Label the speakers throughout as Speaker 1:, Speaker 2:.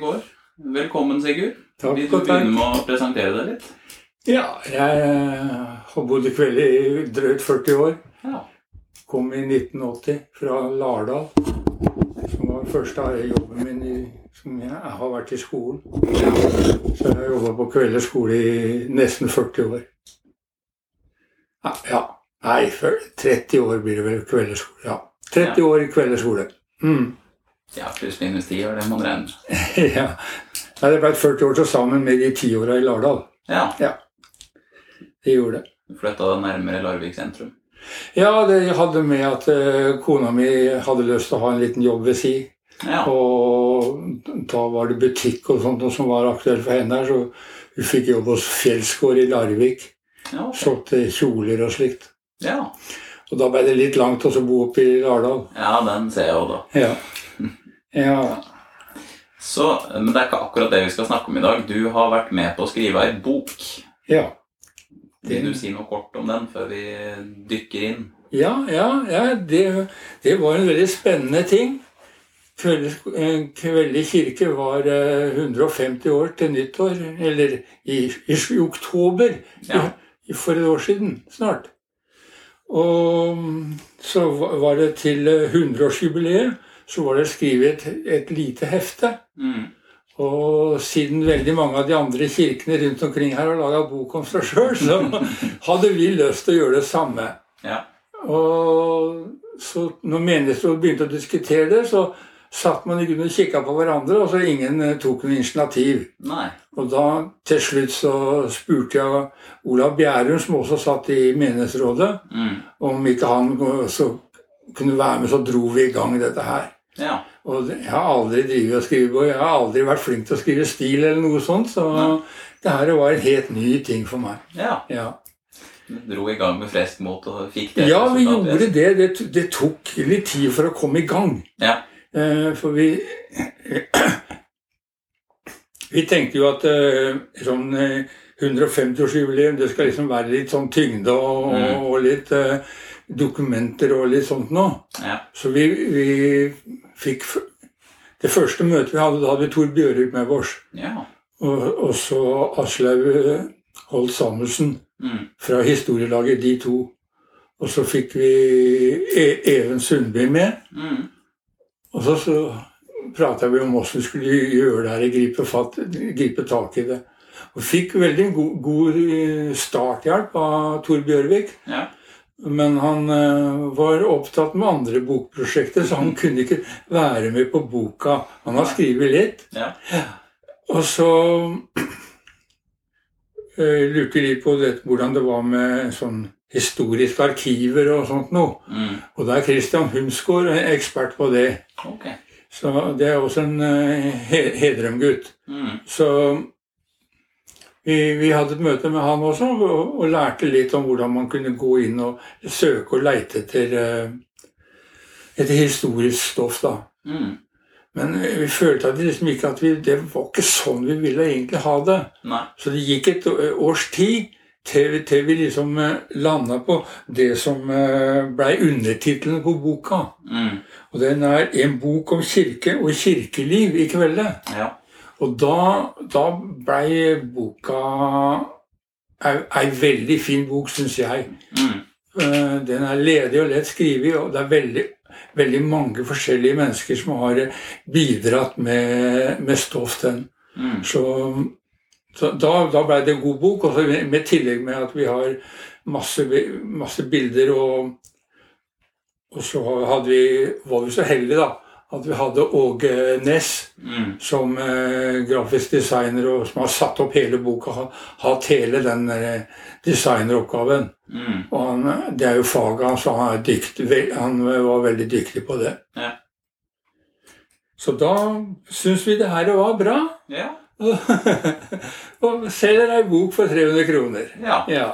Speaker 1: går. Velkommen, Sigurd.
Speaker 2: Takk
Speaker 1: Vil du
Speaker 2: og
Speaker 1: begynne
Speaker 2: takk.
Speaker 1: med å presentere deg litt?
Speaker 2: Ja, jeg eh, har bodd i kveld i drøyt 40 år.
Speaker 1: Ja.
Speaker 2: Kom i 1980 fra Lardal. Som var første jobben min i, som jeg har vært i skolen. Så jeg har jobba på Kvelder skole i nesten 40 år. Ja, ja. Nei, før- 30 år blir det vel Kvelder skole. Ja. 30 år i Kvelder skole. Mm.
Speaker 1: Ja, pluss-minus ti år, det må man regne. med.
Speaker 2: ja. Nei, det ble 40 år til sammen med de 10 åra i Lardal.
Speaker 1: Ja,
Speaker 2: Det gjorde det.
Speaker 1: du flytta nærmere Larvik sentrum.
Speaker 2: Ja, det hadde med at eh, kona mi hadde lyst til å ha en liten jobb ved si.
Speaker 1: Ja,
Speaker 2: Og da var det butikk og sånt noe som var aktuelt for henne her, så hun fikk jobb hos Fjellsgård i Larvik.
Speaker 1: ja, ok.
Speaker 2: Solgte kjoler og slikt.
Speaker 1: ja.
Speaker 2: Og da ble det litt langt å bo oppe i Lardal.
Speaker 1: ja den ser jeg jo, da.
Speaker 2: Ja. ja.
Speaker 1: Så, men det er ikke akkurat det vi skal snakke om i dag. Du har vært med på å skrive ei bok.
Speaker 2: Ja.
Speaker 1: Vil du si noe kort om den før vi dykker inn?
Speaker 2: Ja, ja, ja det, det var en veldig spennende ting. Kveld- eh, Kveldig kirke var eh, 150 år til nyttår, eller i, i, i oktober
Speaker 1: Ja.
Speaker 2: i- for et år siden snart. Og mm, så va- var det til eh, 100-årsjubileet, så var det skrevet et, et lite hefte.
Speaker 1: Mm.
Speaker 2: Og siden veldig mange av de andre kirkene rundt omkring her har laga bok om seg sjøl, så hadde vi lyst til å gjøre det samme.
Speaker 1: Ja.
Speaker 2: Og så når menighetsrådet begynte å diskutere det, så satt man i grunnen og kikka på hverandre, og så ingen eh, tok noe initiativ.
Speaker 1: Nei.
Speaker 2: Og da til slutt så spurte jeg Olav Bjærum, som også satt i menighetsrådet,
Speaker 1: Mm.
Speaker 2: om ikke han eh, så kunne være med, så dro vi i gang dette her.
Speaker 1: Ja.
Speaker 2: Og det- jeg har aldri drevet og skrive, og jeg har aldri vært flink til å skrive stil eller noe sånt, så
Speaker 1: Nei.
Speaker 2: det her var en helt ny ting for meg.
Speaker 1: ja.
Speaker 2: Ja,
Speaker 1: Du dro i gang med friskt mot og fikk det
Speaker 2: ja vi
Speaker 1: resultatet.
Speaker 2: gjorde det. det. t- Det tok litt tid for å komme i gang.
Speaker 1: Ja.
Speaker 2: Eh, For vi Vi tenkte jo at eh, sånn eh, 150-årsjubileum, det skal liksom være litt sånn tyngde og,
Speaker 1: Mm.
Speaker 2: og litt eh, dokumenter og litt sånt noe.
Speaker 1: Ja.
Speaker 2: Så vi, vi fikk f- Det første møtet vi hadde, da hadde vi Tor Bjørhug med oss.
Speaker 1: Ja.
Speaker 2: Og, og så Aslaug eh, Holt Samuelsen
Speaker 1: Mm.
Speaker 2: fra historielaget, de to. Og så fikk vi e Even Sundby med.
Speaker 1: Mm.
Speaker 2: Og så, så prata vi om hvordan vi skulle gjøre det her, gripe, fatt, gripe tak i det. Og fikk veldig god, god eh, starthjelp av Tor Bjørvik.
Speaker 1: Ja.
Speaker 2: Men han eh, var opptatt med andre bokprosjekter, så han kunne ikke være med på boka. Han har skrevet litt.
Speaker 1: Ja.
Speaker 2: Og så eh, lurte de på det, hvordan det var med sånn historiske arkiver og sånt noe.
Speaker 1: Mm.
Speaker 2: Og da er Christian Hunsgaard ekspert på det.
Speaker 1: Ok.
Speaker 2: Så det er også en eh, he- Hedrem-gutt.
Speaker 1: Mm.
Speaker 2: Så vi, vi hadde et møte med han også, og, og lærte litt om hvordan man kunne gå inn og søke og leite etter, eh, etter historisk stoff. da.
Speaker 1: Mm.
Speaker 2: Men vi følte at det liksom ikke at vi, det var ikke sånn vi ville egentlig ha det.
Speaker 1: Nei.
Speaker 2: Så det gikk et å- års tid til, vi- til vi liksom landa på det som blei undertittelen på boka.
Speaker 1: Mm.
Speaker 2: Og den er 'En bok om kirke og kirkeliv i kveldet'.
Speaker 1: Ja.
Speaker 2: Og da, da blei boka ei, ei veldig fin bok, syns jeg.
Speaker 1: Mm.
Speaker 2: Eh, Den er ledig og lett skrevet, og det er veldig, veldig mange forskjellige mennesker som har eh, bidratt med, med stoff til den.
Speaker 1: Mm.
Speaker 2: Så, så da, da blei det en god bok, og så med tillegg med at vi har masse, bi- masse bilder og Og så hadde vi, var vi så heldige, da, at vi hadde Åge Næss
Speaker 1: Mm.
Speaker 2: som eh, grafisk designer og som har satt opp hele boka, har hatt hele den eh, designeroppgaven.
Speaker 1: Mm.
Speaker 2: Og han, eh, det er jo faget hans, og han, er dykt, ve- han eh, var veldig dyktig på det.
Speaker 1: Ja.
Speaker 2: Så da syns vi det her var bra.
Speaker 1: Ja.
Speaker 2: og selger ei bok for 300 kroner.
Speaker 1: ja.
Speaker 2: Ja.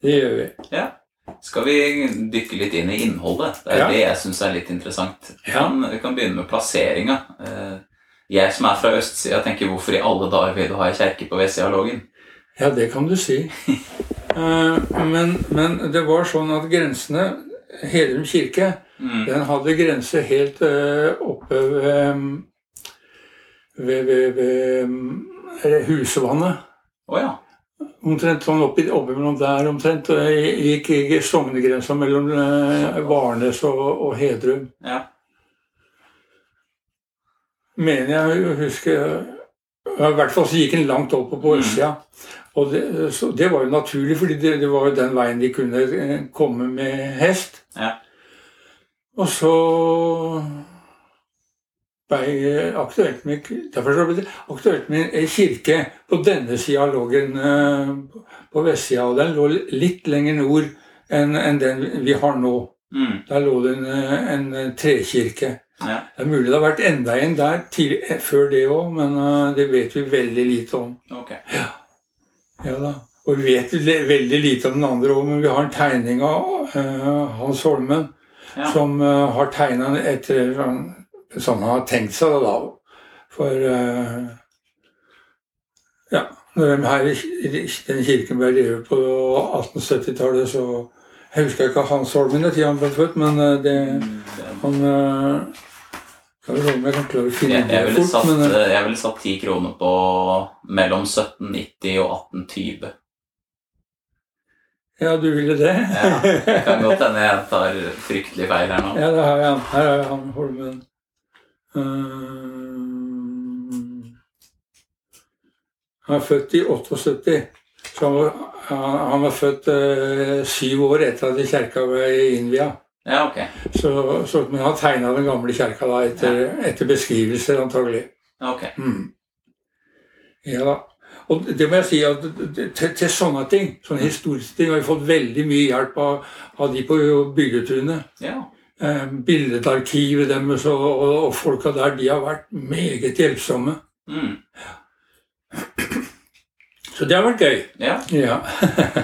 Speaker 2: Det gjør vi.
Speaker 1: Skal vi dykke litt inn i innholdet? Det er
Speaker 2: Ja.
Speaker 1: det jeg syns er litt interessant. Vi
Speaker 2: Ja.
Speaker 1: kan, vi kan begynne med plasseringa. Eh, Jeg som er fra østsida, tenker hvorfor i alle dager vil du ha ei kjerke på vestsida av Lågen?
Speaker 2: Ja, det kan du si. Eh, men, men det var sånn at grensene Hedrum kirke
Speaker 1: Mm.
Speaker 2: Den hadde grense helt eh, oppe ved, ved, ved, ved mm, eh, Husvannet.
Speaker 1: Å ja.
Speaker 2: Omtrent sånn oppi, oppimellom der omtrent. og jeg Gikk i sognegrensa mellom eh, Varnes og, og Hedrum.
Speaker 1: ja.
Speaker 2: mener jeg å huske ja, I hvert fall så gikk den langt opp på
Speaker 1: Mm.
Speaker 2: østsida. Og det, så det var jo naturlig, fordi det, det var jo den veien de kunne eh, komme med hest.
Speaker 1: Ja.
Speaker 2: Og så ble det aktuelt med Derfor så ble det aktuelt med ei kirke på denne sida av Lågen, eh, på vestsida. Og den lå litt lenger nord enn enn den vi har nå.
Speaker 1: Mm.
Speaker 2: Der lå det en, eh, en trekirke.
Speaker 1: ja.
Speaker 2: Det er mulig det har vært enda en der til, før det òg, men eh, det vet vi veldig lite om.
Speaker 1: Ok.
Speaker 2: Ja da. Og vi vet le- veldig lite om den andre òg, men vi har en tegning av eh, Hans Holmen
Speaker 1: Ja.
Speaker 2: som eh, har tegna den etter sånn, sånn han har tenkt seg det da. For eh, Ja. Når de her i ki- i den kirken ble revet på 1870-tallet, så Jeg husker ikke Hans Holmen når han ble født, men eh, det
Speaker 1: Mm, det-
Speaker 2: han øh, Skal vi se om jeg kan klare å finne
Speaker 1: Jeg, jeg,
Speaker 2: det
Speaker 1: ville
Speaker 2: fort,
Speaker 1: satt, eh,
Speaker 2: men øh,
Speaker 1: jeg ville satt 10 kroner på mellom 1790 og 1820.
Speaker 2: Ja, du ville det?
Speaker 1: Ja, Det kan godt hende jeg tar fryktelig feil her nå.
Speaker 2: Ja, det har jeg. Her er han Holmen. Eh, Ehm, han er født i 78. Så han var, han, han var født øh, syv år etter at kjerka ble innvia.
Speaker 1: Ja, ok.
Speaker 2: Så, så, men han tegna den gamle kjerka da etter, etter beskrivelser, antagelig.
Speaker 1: Ja, ok.
Speaker 2: Mm. Ja da. Og det må jeg si at til, til sånne ting, sånne historiske ting, har vi fått veldig mye hjelp av, av de på bygdetunet.
Speaker 1: Ja.
Speaker 2: Eh, billedarkivet deres og, og, og folka der, de har vært meget hjelpsomme.
Speaker 1: Mm.
Speaker 2: Så det har vært gøy.
Speaker 1: ja.
Speaker 2: Ja.
Speaker 1: Det-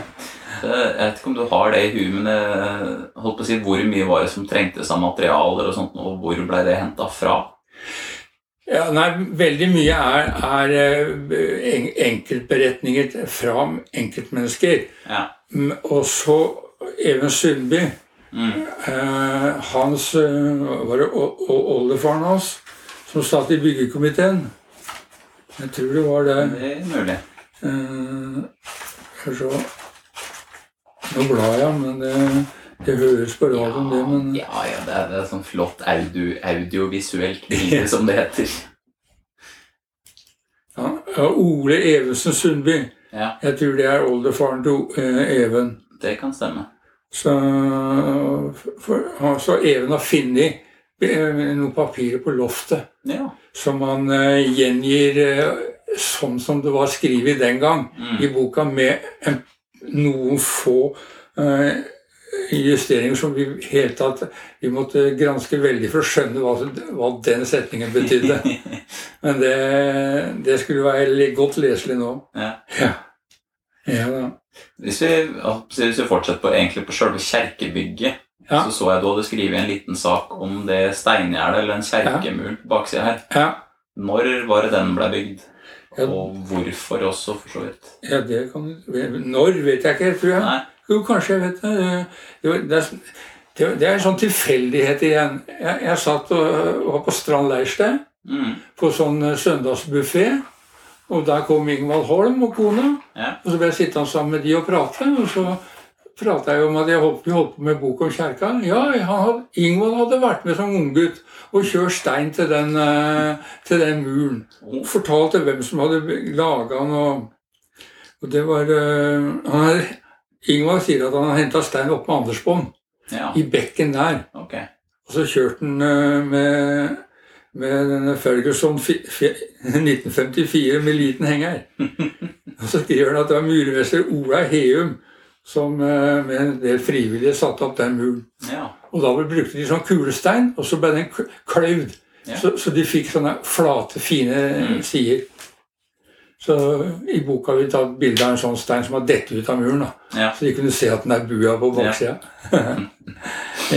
Speaker 1: Jeg vet ikke om du har det i huet, men jeg eh, holdt på å si hvor mye var det som trengtes av materialer og sånt, og hvor ble det henta fra?
Speaker 2: Ja, nei, veldig mye er, er eh, en, enkeltberetninger fra enkeltmennesker.
Speaker 1: Ja.
Speaker 2: Mm, Og så Even Sundby.
Speaker 1: Mm.
Speaker 2: Eh, hans eh, var det o- o- oldefaren hans som satt i byggekomiteen. Jeg tror det var det.
Speaker 1: Det er mulig.
Speaker 2: Eh, skal vi se Nå blar jeg, men det, det høres på radioen, det. Men
Speaker 1: ja, ja, det er, det er sånn flott audio, audiovisuelt bilde, som det heter.
Speaker 2: ja. ja, Ole Evensen Sundby.
Speaker 1: Ja,
Speaker 2: Jeg tror det er oldefaren til O- eh, Even.
Speaker 1: det kan stemme.
Speaker 2: Så, for, han- så Even har funnet eh, noen papirer på loftet.
Speaker 1: Ja.
Speaker 2: som han eh, gjengir eh, sånn som det var skrevet den gang i
Speaker 1: Mm.
Speaker 2: boka, med en, noen få eh, justeringer som vi helt tatt vi måtte granske veldig for å skjønne hva, hva den setningen betydde. Men det, det skulle være li- godt leselig nå.
Speaker 1: Ja.
Speaker 2: Ja. Ja, da.
Speaker 1: Hvis vi, hvis vi fortsetter på, egentlig på selve kjerkebygget,
Speaker 2: Ja.
Speaker 1: så så jeg du hadde skrevet en liten sak om det steingjerdet eller en kjerkemul på baksida her.
Speaker 2: ja.
Speaker 1: Når var det den ble bygd?
Speaker 2: Ja.
Speaker 1: Og hvorfor også, for så vidt.
Speaker 2: ja det kan Når vet jeg ikke, tror jeg.
Speaker 1: Nei.
Speaker 2: Jo, kanskje jeg vet det. Eh, Det, var- det, er, det, det er en sånn tilfeldighet igjen. Jeg, jeg satt og, og var på Strand leirsted,
Speaker 1: Mm.
Speaker 2: på sånn søndagsbuffé. Og der kom Ingvald Holm og kona.
Speaker 1: Ja.
Speaker 2: Og så ble jeg sittende sammen med de og prate. Og så prata jeg om at jeg holdt, vi holdt på med bok om kjerka. Ja, han hadde, Ingvald hadde vært med som unggutt og kjørt stein til den, eh, til den muren. Og fortalte hvem som hadde laga den. Og, og det var eh, han er, Ingvald sier at han har henta stein opp med Andersbånd,
Speaker 1: Ja,
Speaker 2: i bekken der.
Speaker 1: ok.
Speaker 2: Og så kjørte han eh, med, med denne Ferguson fi- fi- 1954 med liten henger. Og så skriver han at det var murmester Ola Heum som eh, med en del frivillige satte opp den muren.
Speaker 1: Ja.
Speaker 2: Og da ble- brukte de sånn kulestein, og så ble den kl- kløyvd.
Speaker 1: Ja.
Speaker 2: Så, så de fikk sånne flate, fine
Speaker 1: Mm.
Speaker 2: sider. Så i boka har vi tatt bilde av en sånn stein som har dette ut av muren. da.
Speaker 1: ja.
Speaker 2: Så de kunne se at den er bua på baksida.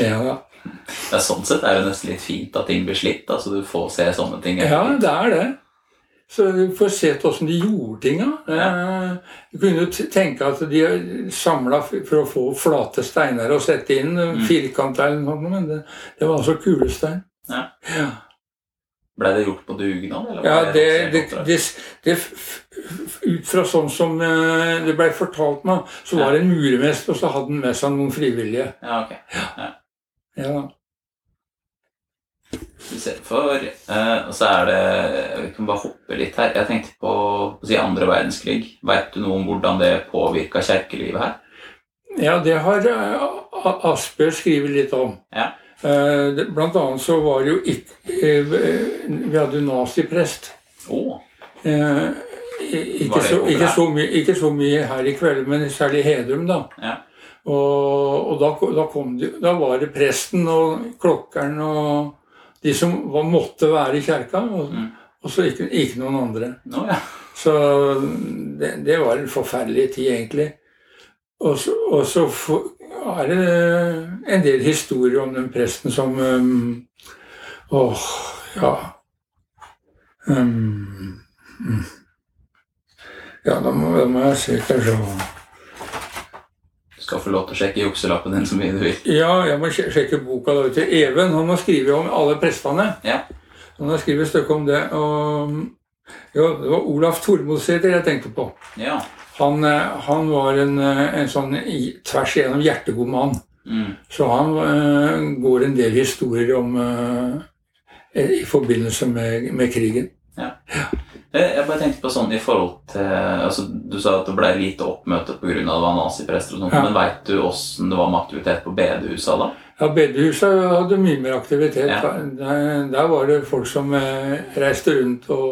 Speaker 2: ja. da.
Speaker 1: Ja, sånn sett er det nesten litt fint at ting blir slitt, altså du får se sånne ting.
Speaker 2: ja, det er det. Så du får sett åssen de gjorde tinga. Eh, Du kunne jo t- tenke at de samla for å få flate steiner og sette inn mm.
Speaker 1: Mm.
Speaker 2: firkant eller noe, men det, det var altså kulestein.
Speaker 1: Ja.
Speaker 2: ja.
Speaker 1: Ble det gjort på dugnad? Eller var
Speaker 2: Ja, det,
Speaker 1: rensing
Speaker 2: det,
Speaker 1: kontra-
Speaker 2: det, det f- f- Ut fra sånn som eh, det ble fortalt meg, så var det en murmester, og så hadde han med seg noen frivillige.
Speaker 1: Ja, ok.
Speaker 2: Ja,
Speaker 1: Skal vi se. For eh, Og så er det Vi kan bare hoppe litt her. Jeg tenkte på å si andre verdenskrig. Veit du noe om hvordan det påvirka kirkelivet her?
Speaker 2: ja det har eh, A- Asbjørn skrevet litt om.
Speaker 1: Ja.
Speaker 2: Eh, det- Blant annet så var det jo ikke eh, Vi hadde jo naziprest.
Speaker 1: Å,
Speaker 2: Eh, i-
Speaker 1: Var
Speaker 2: ikke,
Speaker 1: det
Speaker 2: så,
Speaker 1: populært?
Speaker 2: ikke, så mye, ikke så mye her i kveld, men særlig i Hedrum, da.
Speaker 1: Ja.
Speaker 2: Og, og da, ko- da, kom de, da var det presten og klokkeren og de som var, måtte være i kjerka, og,
Speaker 1: Mm.
Speaker 2: og så ikke, ikke noen andre.
Speaker 1: nå ja.
Speaker 2: Så det, det var en forferdelig tid, egentlig. Og så, og så fo- er det en del historier om den presten som um, Åh, ja um, mm. Ja, da må, da må jeg se, kanskje
Speaker 1: Du skal få lov til å sjekke jukselappen din så mye du vil.
Speaker 2: Ja, jeg må sje- sjekke boka da ute. Even han har skrevet om alle prestene.
Speaker 1: Ja.
Speaker 2: Han har skrevet et stykke om det. Og, jo, det var Olaf Tormodsæter jeg tenkte på.
Speaker 1: Ja.
Speaker 2: Han, eh, han var en, eh, en sånn i- tvers igjennom hjertegod mann.
Speaker 1: Mm.
Speaker 2: Så han eh, går en del historier om eh, i forbindelse med, med krigen.
Speaker 1: Eh, Jeg bare tenkte på sånn i forhold til altså, Du sa at det ble lite oppmøte pga. det var naziprester og sånt,
Speaker 2: Ja.
Speaker 1: men veit du åssen det var med aktivitet på bedehusa da?
Speaker 2: Ja, Bedehuset hadde mye mer aktivitet.
Speaker 1: Ja.
Speaker 2: Der, der var det folk som eh, reiste rundt og